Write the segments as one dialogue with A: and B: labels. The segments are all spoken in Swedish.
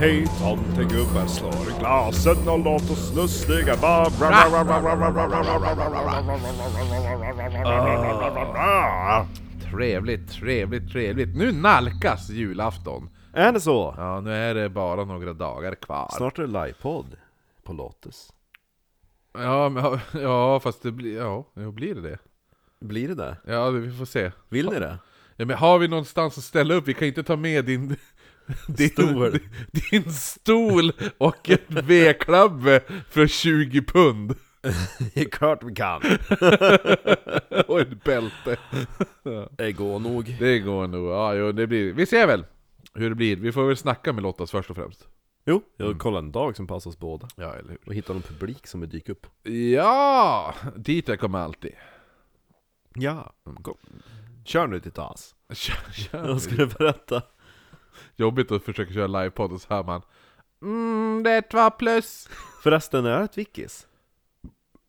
A: Hej tomtegubbar, slår i glasen och låt oss lustiga vara.
B: Trevligt, trevligt, trevligt. Nu nalkas julafton.
C: Är det så?
B: Ja, nu är det bara några dagar kvar.
C: Snart är det livepodd på Lottis.
B: Ja, men, ja, ja, fast det blir... Ja, ja, blir det det?
C: Blir det det?
B: Ja, vi får se.
C: Vill ni det?
B: Ja, men har vi någonstans att ställa upp? Vi kan inte ta med din... Din
C: Stol.
B: Din stol och en V-klabbe för 20 pund.
C: Det är klart vi kan.
B: Och ett bälte.
C: Det går nog.
B: Det går nog. Ja, jo, det blir... Vi ser väl hur det blir. Vi får väl snacka med Lottas först och främst.
C: Jo, jag kollar en dag som passar oss båda.
B: Ja, eller
C: Och Mm. hittar någon publik som vill dyka upp.
B: hur? Ja! Dit jag kommer alltid.
C: Ja, go. Kör nu ditt as.
B: Tja, tja.
C: Mm. Jag skulle berätta.
B: Jobbigt att försöka köra livepodd och så hör man Mm, det är två plus.
C: Förresten, är det ett wikis?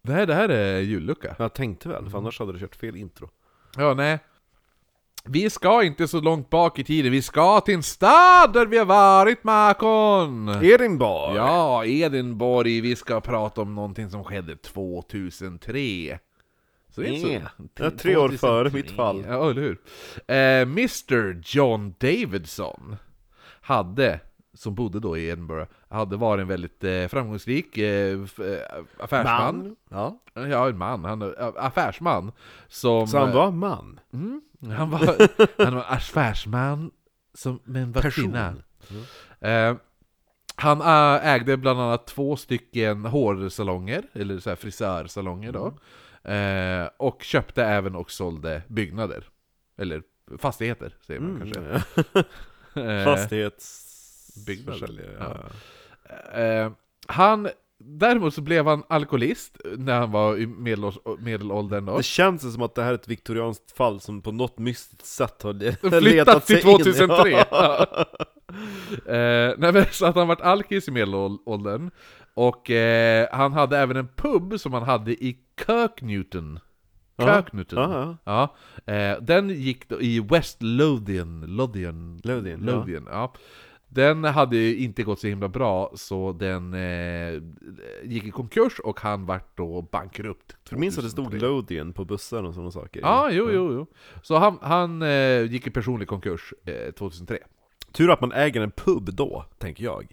B: Det här, det här är jullucka.
C: Jag tänkte väl, för annars hade du kört fel intro.
B: Ja, nej. Vi ska inte så långt bak i tiden, vi ska till en stad där vi har varit Makon!
C: Edinburgh!
B: Ja, Edinborg, vi ska prata om någonting som skedde 2003. Så det är inte
C: Yeah.
B: så...
C: Det är tre år före mitt fall.
B: Ja, eller hur? Eh, Mr John Davidson hade, som bodde då i Edinburgh, hade varit en väldigt eh, framgångsrik eh, f- eh, affärsman.
C: Ja.
B: Ja, en man. Han, eh, affärsman. Som,
C: Så han var man?
B: Mm. han var, han var affärsman, som, men var
C: Person.
B: kvinna. Eh, han eh, ägde bland annat två stycken hårsalonger, eller så här frisörsalonger då. Eh, och köpte även och sålde byggnader. Eller fastigheter, säger
C: Mm.
B: man kanske. Eh, Byggnader.
C: Fastighetsbyggnadsförsäljare. Ja.
B: Eh, han, däremot så blev han alkoholist när han var i medelårs- medelåldern då.
C: Det känns ju som att det här är ett viktorianskt fall som på något mystiskt sätt har le-
B: Flyttat
C: letat sig
B: till
C: in.
B: 2003!
C: Ja.
B: eh, nej, men, så att han vart alkis i medelåldern, och eh, han hade även en pub som han hade i Kirknewton.
C: Ja.
B: Kirknewton.
C: Ja,
B: Ja, eh, den gick då i West Lothian, Lothian,
C: Lothian, ja.
B: Lothian ja. Den hade ju inte gått så himla bra, så den eh, gick i konkurs och han vart då bankrupt.
C: Jag minns att det stod
B: 2003.
C: Lodien på bussar och sådana saker.
B: Ja, jo, jo, jo. Så han, han eh, gick i personlig konkurs eh, 2003.
C: Tur att man äger en pub då, tänker jag.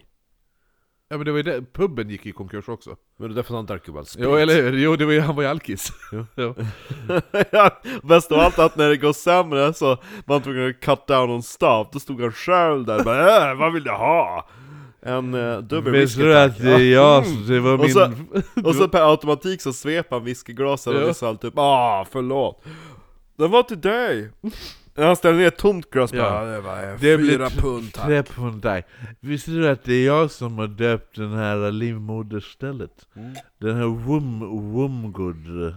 B: Ja men det var ju det, puben gick i konkurs också.
C: Men det är därför han drack ju bara sprit.
B: Jo eller hur? Jo det var ju, han var ju alkis. Jo.
C: Ja, Bäst av allt är att när det går sämre så man tvungen att cut down on stuff, då stod han själv där och bara äh, vad vill du ha? En eh, dubbel whisky tack. Ja.
B: det var
C: Och så, och så per automatik så svep han whiskyglasen
B: Ja.
C: och sa typ ah förlåt, den var till dig! När han ställde ner ett tomt glas
B: Ja.
C: bara, det var eh,
B: Det blir
C: fyra
B: t-
C: pund tack.
B: Tre från dig. Visste du att det är jag som har döpt den här livmoderstället? Den här Wum Wumgood.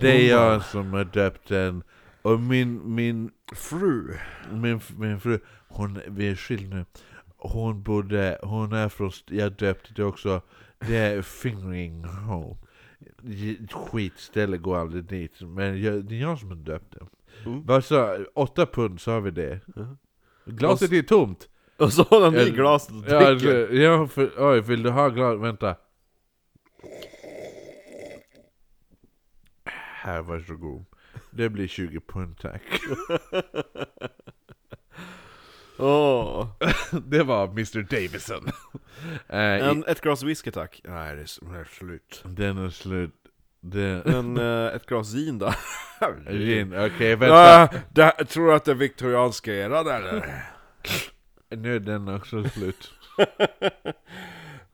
B: Det är jag som har döpt den. Och min, min,
C: Fru!
B: min, min fru, hon, vi är skild nu. Hon bodde, hon är från, st- jag döpte det också, det är Fingering Home. J- Skitställe går aldrig dit, men jag, det är jag som har döpt det.
C: Mm.
B: Vad sa, åtta pund sa vi det.
C: Mhm.
B: Glaset är tomt.
C: Och så har han i
B: Ja,
C: glaset och
B: Ja,
C: dricker.
B: det- ja för, oj, vill du ha glas? Vänta. Här, varsågod. Det blir 20 pund tack.
C: Åh.
B: Det var Mr Davison. Eh, i,
C: En, ett glas whisky tack. Nej, det är, s- det är slut.
B: den är slut. Den,
C: Men eh, ett glas gin då?
B: gin, okej vänta.
C: Äh, det, här- tror du att det är viktorianska eran eller?
B: Nu är den också slut.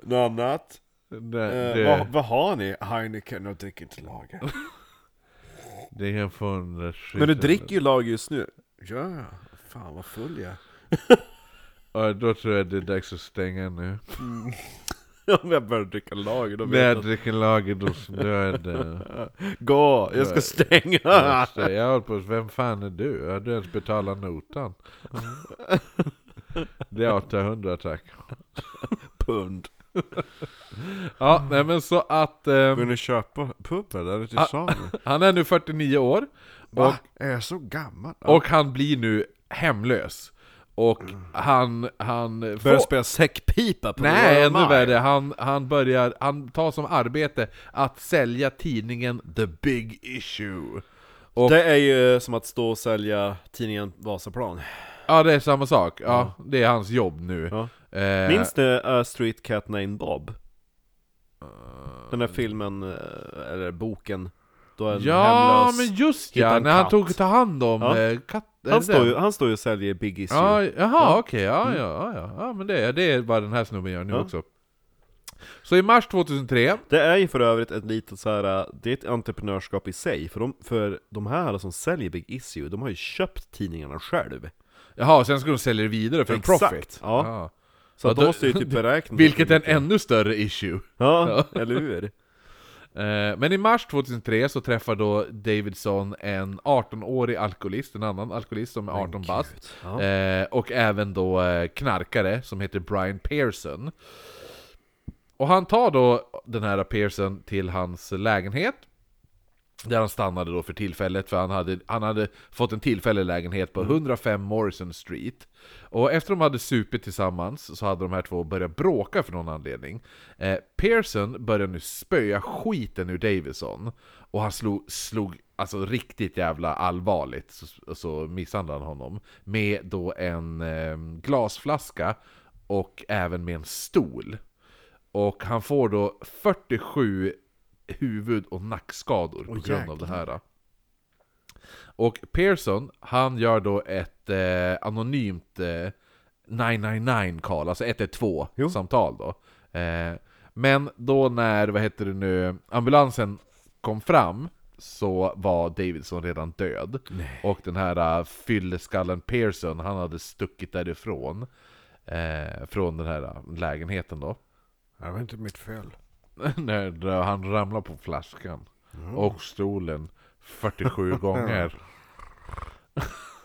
C: Något annat?
B: Det,
C: Eh,
B: det,
C: vad, vad har ni? Heineken och dricker inte lager.
B: det kan få en
C: Men du dricker ju lager just nu. Ja, fan vad full jag är.
B: Ja, då tror jag det är dags att stänga nu.
C: Ja, men jag börjar dricka lager, då
B: När jag
C: vet
B: dricker lager då snöar det.
C: jag. Gå, jag ska stänga!
B: Just det, Alltså, Jag höll på vem fan är du? Har du ens betalat notan? Mm. Det är 800 tack.
C: Pund.
B: Ja, nej men så att... eh,
C: Vill ni köpa puben? Är det till
B: Ah.
C: salu?
B: han är nu 49 år.
C: Va? Är jag så gammal? Ja. Mm.
B: Och han blir nu hemlös. Och han, han...
C: Börjar
B: får-
C: spela säckpipa på
B: Nej,
C: Royal
B: ännu
C: Mile.
B: värre. Han, han börjar, han tar som arbete att sälja tidningen The Big Issue. Och,
C: Det är ju som att stå och sälja tidningen Vasaplan.
B: ja, det är samma sak. Ja, det är hans jobb nu.
C: Ja.
B: Eh,
C: Minns ni A Street Cat Named Bob? Den där filmen, eh, eller boken, då en
B: Ja,
C: hemlös...
B: men just
C: hittar
B: ja!
C: en
B: När han
C: katt.
B: tog ta hand om
C: Ja.
B: eh, katt, är
C: han,
B: det
C: står
B: den?
C: ju, han står ju och säljer Big Issue.
B: Ja, jaha, okej, ja, ja, ja, ja, men det, det är vad den här snubben gör nu
C: Mm. Ja.
B: också. Så i mars 2003,
C: Det är ju för övrigt ett litet så här, eh, det är ett entreprenörskap i sig, för de, för de här som säljer Big Issue, de har ju köpt tidningarna själv.
B: jaha, sen ska de sälja det vidare för
C: Exakt,
B: en profit.
C: ja.
B: Ah.
C: Så
B: Ja,
C: att de
B: då-
C: måste ju typ beräkna...
B: Vilket är en
C: en...
B: ännu större issue.
C: Ja, eller hur?
B: Eh, Men i mars 2003 så träffar då Davidson en 18-årig alkoholist, en annan alkoholist som är 18 bast.
C: Ja.
B: Eh, Och även då eh, knarkare som heter Brian Pearson. Och han tar då den här Pearson till hans lägenhet. Där han stannade då för tillfället, för han hade, han hade fått en tillfällig lägenhet på 105 Morrison Street. Och efter de hade supit tillsammans så hade de här två börjat bråka för någon anledning. Eh, Pearson började nu spöa skiten ur Davison. Och han slog, slog alltså riktigt jävla allvarligt, så, så misshandlade han honom. Med då en eh, glasflaska och även med en stol. Och han får då 47 huvud och nackskador på
C: Åh,
B: grund av det här. Och Pearson, han gör då ett eh, anonymt eh, 999-call, alltså 112-samtal då. Eh, men då när, vad heter det nu, ambulansen kom fram så var Davidson redan död. Och den här uh, fylleskallen Pearson, han hade stuckit därifrån. Eh, från den här eh, lägenheten då.
C: Det var inte mitt fel.
B: När dra- han ramlar på flaskan och stolen 47 gånger.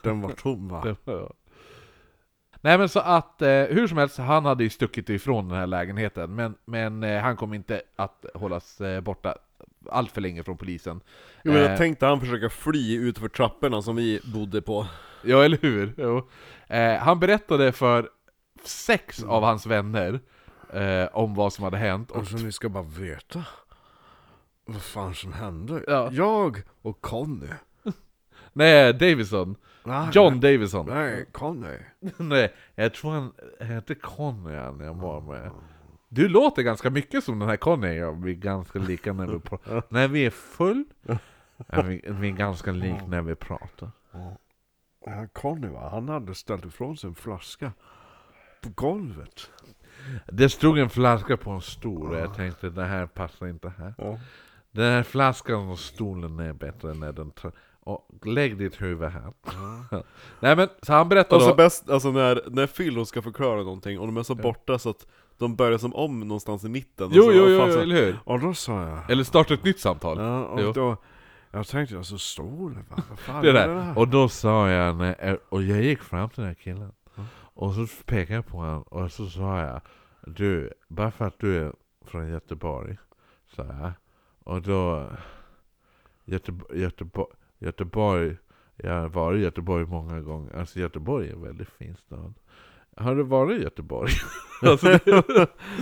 C: Den var tom va?
B: Det var- Nej men så att, eh, hur som helst, han hade ju stuckit ifrån den här lägenheten men, men eh, han kom inte att hållas eh, borta allt för länge från polisen.
C: Jo men
B: Eh,
C: jag tänkte han försöka fly ut för trapporna som vi bodde på
B: Ja, eller hur? Jo. Eh, han berättade för sex av hans vänner eh, om vad som hade hänt. Och,
C: Alltså ni ska bara veta Vad fan som hände
B: Ja.
C: Jag och Conny
B: nej, Davison.
C: nej,
B: John Davison.
C: Nej, Conny
B: Nej, jag tror han hette Conny han jag
C: Ah.
B: var med. Du låter ganska mycket som den här Conny, ja, vi är ganska lika när vi pratar. När vi är full, är vi, vi är
C: Ah.
B: ganska lika när vi pratar.
C: ja, Conny va, han hade ställt ifrån sig en flaska På golvet
B: Det stod en flaska på en stol
C: Ah.
B: och jag tänkte det här passar inte här.
C: Ja.
B: Den här flaskan och stolen är bättre när den tar... Och lägg ditt huvud här. Nej men, så han berättar
C: Ah. Och så
B: då...
C: bäst, alltså när, när Phil ska förklara någonting och de är så borta så att de börjar som om någonstans i mitten
B: Jo,
C: och så,
B: jo,
C: vad
B: jo,
C: fan så-
B: eller hur?
C: Och då sa jag
B: Eller starta ett nytt samtal.
C: Ja, och
B: Jo.
C: då Jag tänkte alltså stolen va, vad fan
B: Det
C: är
B: där. Och då sa jag, när- och jag gick fram till den här killen Och så pekade jag på honom och så sa jag Du, bara för att du är från Göteborg sa jag Och då Göteborg, Göteborg, Göteborg Jag har varit i Göteborg många gånger Alltså Göteborg är en väldigt fin stad Har du varit i Göteborg? alltså,
C: De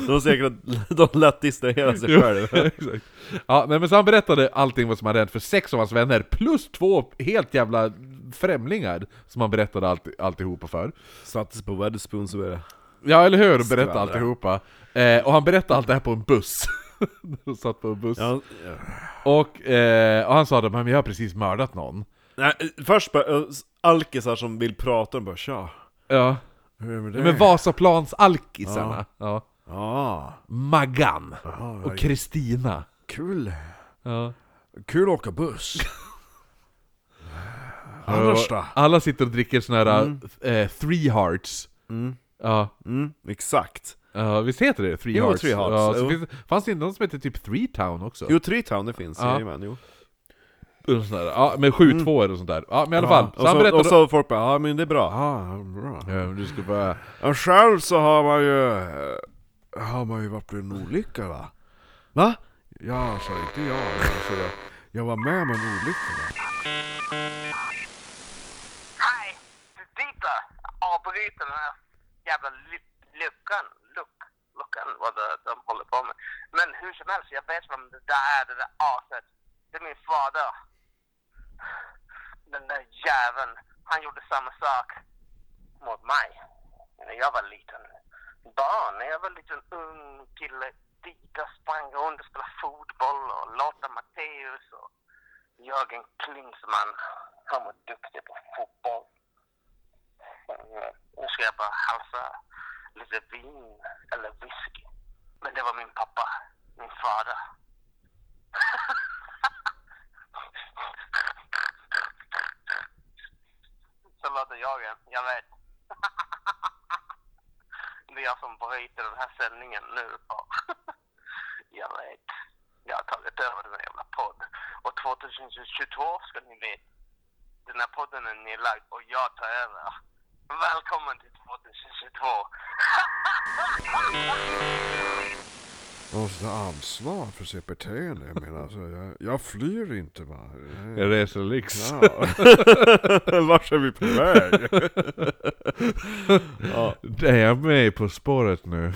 C: var säkert, de lät distrahera sig
B: Jo,
C: själv
B: exakt. Ja, nej, men så han berättade allting vad som hade hänt för sex av hans vänner, plus två helt jävla främlingar som han berättade allt, alltihopa för.
C: Sattes på Wetherspoon så är det
B: Ja, eller hur? Berättade
C: Skvallra.
B: alltihopa. Eh, och han berättade allt det här på en buss. De satt på en buss.
C: ja,
B: Och, eh, och han sa att men jag har precis mördat någon.
C: Nej, först bara, eh, alkisar som vill prata, bara tja
B: Ja.
C: Hur är det med
B: Men Vasaplans-alkisarna. Ja.
C: Ja,
B: Maggan. Och Kristina.
C: kul,
B: Ja.
C: kul att åka buss
B: Och Alla sitter och dricker såna här eh, three hearts. Ja.
C: Mm, exakt
B: Ja, visst heter det Three
C: Jo,
B: Hearts?
C: Three Hearts,
B: Ja,
C: jo.
B: så finns, fanns det inte någon som hette typ Three Town också?
C: Jo, Treetown det finns,
B: Ja.
C: jajamän, jo
B: Eller sån där. Ja, med 7 2 och sånt där. Ja, men i alla fall.
C: Mm. Ja,
B: Så han
C: och, så,
B: berättade...
C: och så folk bara, ja men det är bra, ja bra
B: Ja, men du ska bara...
C: Ja, Själv så har man ju eh, har man ju varit vid en olycka va? Va? Ja, sa inte jag. men Alltså, jag, jag var med om en olycka. Va?
D: Hej! Du Dita! Avbryter den här jävla lu- luckan. Luck, luckan, vad det, de håller på med. Men hur som helst, jag vet vem det där är, det där aset. Det är min fader. Den där jäveln. Han gjorde samma sak mot mig. När jag var liten barn, när jag var liten ung kille. Dita sprang runt och spelade fotboll och Lotta Matteus och Jörgen Klinsmann. Han var duktig på fotboll. Eh, Nu ska jag bara halsa lite vin eller whisky. Men det var min pappa, min fader. Så låter jag igen, jag vet. Det är jag som bryter den här sändningen nu. Jag vet. Jag har tagit över den här jävla podden. Och 2022 ska ni veta. Den här podden är nedlagd och jag tar över. Välkommen till 2022.
C: Man måste ta ansvar för sitt beteende. Jag menar, alltså, jag, jag flyr inte va? Jag-
B: Jag reser liksom. lyx.
C: Ja. Vart är vi på väg?
B: Är jag med På spåret nu?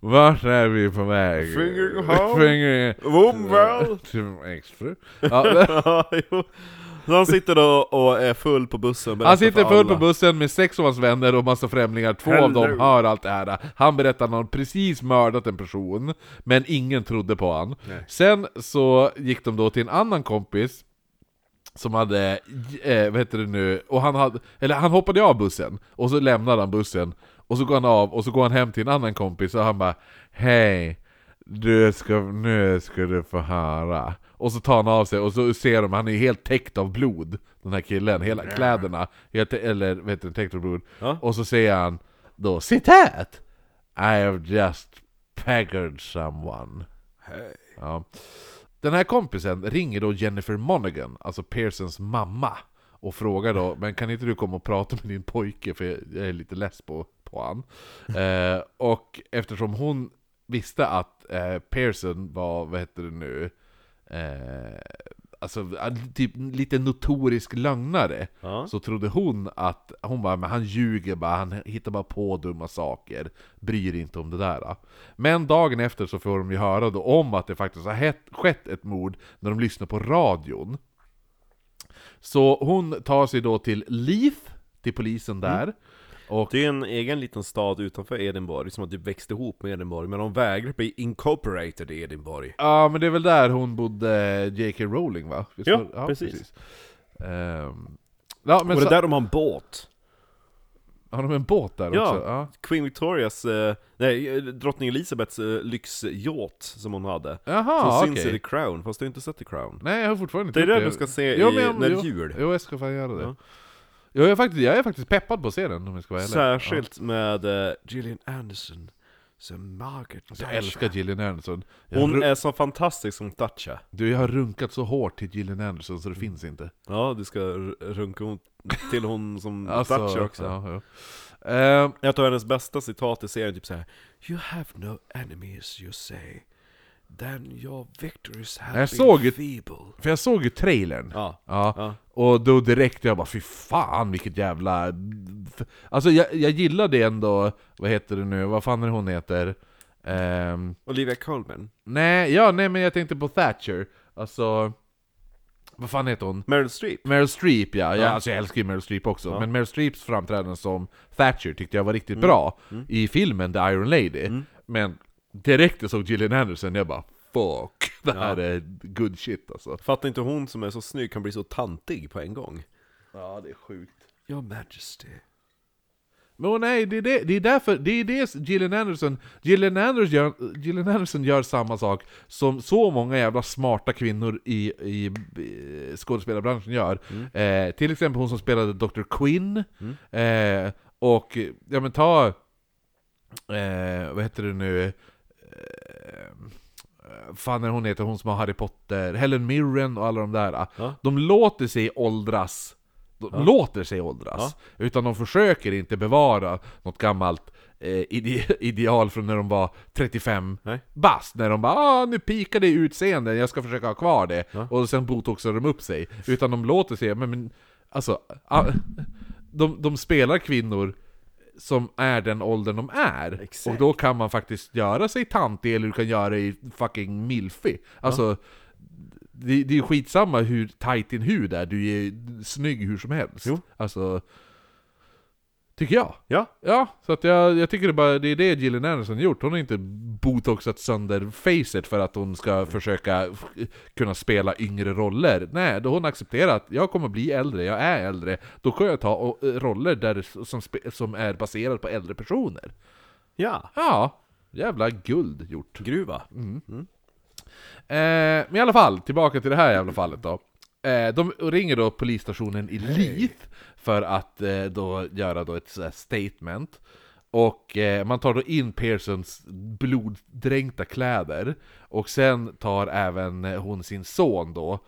B: Vart är vi på väg?
C: Fingering how?
B: Fingering...
C: Womwell!
B: Till min exfru. Ja,
C: ja, jo. Så han sitter då och är full på bussen. berättar
B: han
C: för
B: sitter full
C: alla.
B: på bussen med sex av hans vänner och massa främlingar, två av
C: Hello.
B: dem hör allt det här Han berättar att han precis mördat en person, men ingen trodde på han Sen så gick de då till en annan kompis som hade, eh, vad heter det nu, och han hade, eller han hoppade av bussen, och så lämnade han bussen, och så går han av, och så går han hem till en annan kompis, och han bara Hej, du ska, nu ska du få höra. Och så tar han av sig, och så ser de, han är helt täckt av blod, den här killen, hela kläderna, helt, eller vad heter det, täckt av blod.
C: Ja.
B: Och så säger han då, citat! I have just peggered someone. Ja. Den här kompisen ringer då Jennifer Monaghan, alltså Pearsons mamma, och frågar då Men kan inte du komma och prata med din pojke för jag- jag är lite less på, på han. Eh, och eftersom hon visste att eh, Pearson var, vad heter det nu, eh, alltså typ lite notorisk lögnare,
C: Ja.
B: så trodde hon att, hon bara, men han ljuger bara, han hittar bara på dumma saker, bryr inte om det där. Men dagen efter så får de ju höra då om att det faktiskt har hett, skett ett mord när de lyssnar på radion. Så hon tar sig då till Leith, till polisen där, och
C: Det är en egen liten stad utanför Edinburgh som har typ växt ihop med Edinburgh Men de vägrar bli incorporated i Edinburgh
B: Ja men det är väl där hon bodde, J.K. Rowling va? Visst
C: Ja,
B: var det?
C: precis.
B: Ehm, ja men
C: Och det
B: så,
C: är där de har en båt
B: har de en båt där
C: Ja.
B: också? Ja.
C: Queen Victorias, eh, nej eh, drottning Elisabeths eh, lyxyacht som hon hade
B: Jaha,
C: Som
B: Ah, okej.
C: syns i The Crown, fast du har inte sett The Crown
B: Nej jag har fortfarande inte
C: Det är
B: gjort
C: det du ska se
B: Jo,
C: i,
B: men jag-
C: när
B: jo,
C: jul
B: Jo jag ska fan göra det.
C: Ja.
B: Jo, jag, är faktiskt, jag är faktiskt peppad på att se den om jag ska vara ärlig.
C: Särskilt med eh, Gillian Anderson som Margaret
B: Ja. Jag
C: Thatcher.
B: älskar Gillian Anderson. Jag
C: Hon
B: ru-
C: är så fantastisk som Thatcher
B: Du, jag har runkat så hårt till Gillian Anderson
C: Mm.
B: så det finns inte.
C: Ja, du ska r- runka hon, till hon som Thatcher
B: Alltså,
C: också
B: Ja, ja. Ehm,
C: Jag tror hennes bästa citat i serien typ såhär You have no enemies you say Then your victories have
B: Jag
C: been
B: såg ett-
C: feeble
B: för jag såg ju trailern.
C: Ja,
B: Ja.
C: ja.
B: Och då direkt jag bara fy fan vilket jävla... Alltså jag, jag gillade ändå, vad heter det nu, vad fan är det hon heter? Ehm,
C: Olivia Colman
B: nej, ja nej men jag tänkte på Thatcher, alltså... Vad fan heter hon?
C: Meryl Streep
B: Meryl Streep ja, ja.
C: Ja.
B: Alltså, jag älskar ju Meryl Streep också,
C: Ja. Mm.
B: men Meryl Streeps framträdande som Thatcher tyckte jag var riktigt bra i filmen The Iron Lady, men direkt jag såg Gillian Anderson, jag bara fuck, det här är good shit alltså.
C: Fattar inte hon som är så snygg kan bli så tantig på en gång
B: Ja, det är sjukt.
C: Your Majesty
B: Men åh nej, det är, det, det är därför, det är det Gillian Anderson, Gillian Anderson, gör, Gillian Anderson gör samma sak som så många jävla smarta kvinnor i, i, eh, skådespelarbranschen gör. Eh, till exempel hon som spelade Dr. Quinn, eh, och ja men ta, eh, vad heter det nu, eh, fan är hon heter, hon som har Harry Potter, Helen Mirren och alla de där. Ah,
C: Ja.
B: De låter sig åldras, de låter sig åldras. Utan de försöker inte bevara något gammalt eh, eh, ide- ideal från när de var 35
C: Nej.
B: bast. När de bara ah, nu pikar det i utseende, jag ska försöka ha kvar det.
C: Ja.
B: Och sen botoxar de upp sig. Utan de låter sig, men, men alltså, ah, de, de spelar kvinnor som är den åldern de är.
C: Exakt.
B: Och då kan man faktiskt göra sig tantig, eller du kan göra dig fucking milfig. Alltså, det, det är ju skitsamma hur tight din hud är, du är snygg hur som helst.
C: Jo.
B: Alltså, tycker jag.
C: Ja,
B: Ja, så att jag, jag tycker det, bara, det är det Gillian Anderson gjort. Hon har inte botoxat sönder facet för att hon ska försöka f- kunna spela yngre roller. Nej, då hon accepterar att jag kommer bli äldre, jag är äldre. Då kan jag ta och, eh, roller där, det s- som, spe- som är baserade på äldre personer.
C: ja.
B: Ja, jävla guld gjort.
C: Gruva.
B: Eh, men i alla fall, tillbaka till det här jävla fallet då. Eh, de ringer då polisstationen i Leith för att eh, då göra då ett så här statement. Och eh, man tar då in Pearsons bloddränkta kläder. Och sen tar även eh, hon sin son då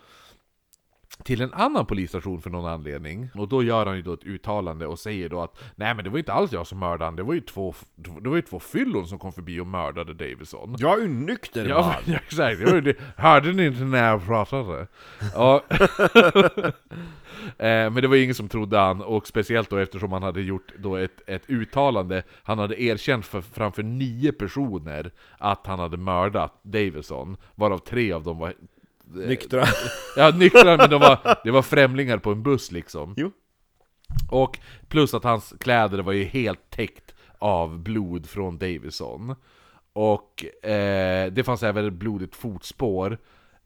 B: till en annan polisstation för någon anledning. Och då gör han ju då ett uttalande och säger då att Nej men det var ju inte alls jag som mördade han, det var ju två, det var ju två fyllon som kom förbi och mördade Davison.
C: Jag är ju nykter
B: Ja,
C: man.
B: men exakt. Det var ju det. Hörde ni inte när jag pratade? Ja. Eh, Men det var ju ingen som trodde han, och speciellt då eftersom han hade gjort då ett, ett uttalande, han hade erkänt för, framför nio personer att han hade mördat Davison, varav tre av dem var
C: Nyktra.
B: Ja, nyktra, men de var, det var främlingar på en buss liksom.
C: Jo.
B: Och plus att hans kläder var ju helt täckt av blod från Davison. Och eh, det fanns även ett blodigt fotspår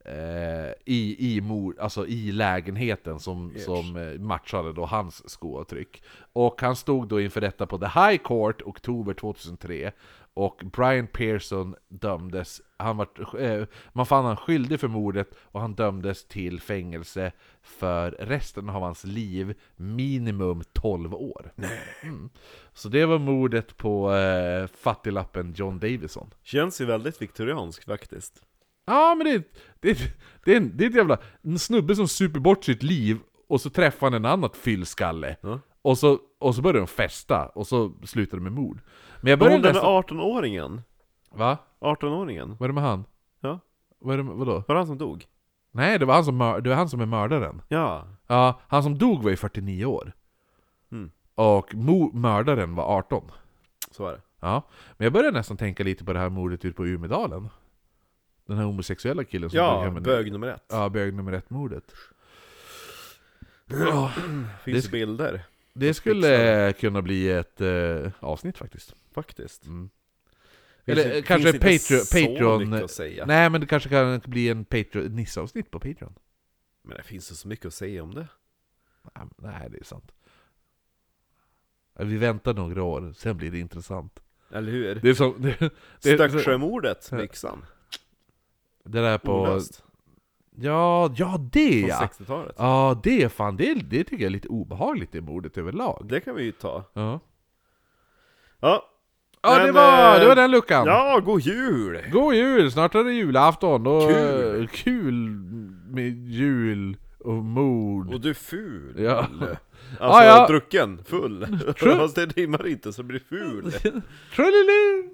B: eh, i, i, mor, alltså i lägenheten som, som eh, matchade då hans skoavtryck. Och han stod då inför detta på The High Court oktober 2003. Och Brian Pearson dömdes, han var, eh, man fann han skyldig för mordet och han dömdes till fängelse för resten av hans liv, minimum 12 år. Mm. Så det var mordet på eh, fattiglappen John Davison.
C: Känns ju väldigt viktorianskt faktiskt.
B: Ja, men det, det, det, är en, det är ett jävla... En snubbe som super bort sitt liv och så träffar han en annat fyllskalle.
C: Ja.
B: Och, så, och så börjar de festa, och så slutar det med mord. Men jag
C: Hon
B: började
C: den där
B: läsa...
C: 18-åringen.
B: Va?
C: 18-åringen.
B: Vad är det med han?
C: Ja.
B: Vad är det med, vadå?
C: Var det han som dog?
B: Nej, det var han som, mör, det var han som är mördaren.
C: Ja.
B: Ja, han som dog var ju 49 år.
C: Mm.
B: Och mo- mördaren var 18.
C: Så var det.
B: Ja. Men jag började nästan tänka lite på det här mordet ute på Umedalen. Den här homosexuella killen som tog
C: Ja,
B: hem en-
C: bög nummer ett.
B: Ja, bög nummer ett-mordet.
C: Finns
B: sk-
C: bilder,
B: Det skulle eh, kunna bli ett eh, avsnitt faktiskt.
C: faktiskt.
B: Mm.
C: Finns
B: Eller
C: det-
B: eh, kanske
C: finns inte
B: Patreon...
C: så
B: Patreon
C: mycket att säga.
B: nej, men det kanske kan bli en Patreon, Nisse-avsnitt på Patreon.
C: Men det finns ju så mycket att säga om det.
B: Nej, men- Nej, det är sant. Ja, Vi väntar några år, sen blir det intressant.
C: Eller hur?
B: Det är som... Det, det, det,
C: Stöcksjömordet, Lyxan.
B: det där på...
C: Olöst.
B: Ja, ja det
C: Från
B: ja!
C: 60-talet.
B: Ja, det är fan, det, det tycker jag är lite obehagligt i mordet överlag.
C: Det kan vi ju ta.
B: Ja,
C: Ja,
B: ja det,
C: Men,
B: var, det var
C: eh,
B: den luckan!
C: ja god jul!
B: God jul! Snart är det julafton och
C: Kul.
B: kul med jul och mord.
C: Och du är ful!
B: Ja.
C: Alltså
B: Ah, ja.
C: drucken, full. Fast det rimmar inte så det blir ful.
B: Trullelu!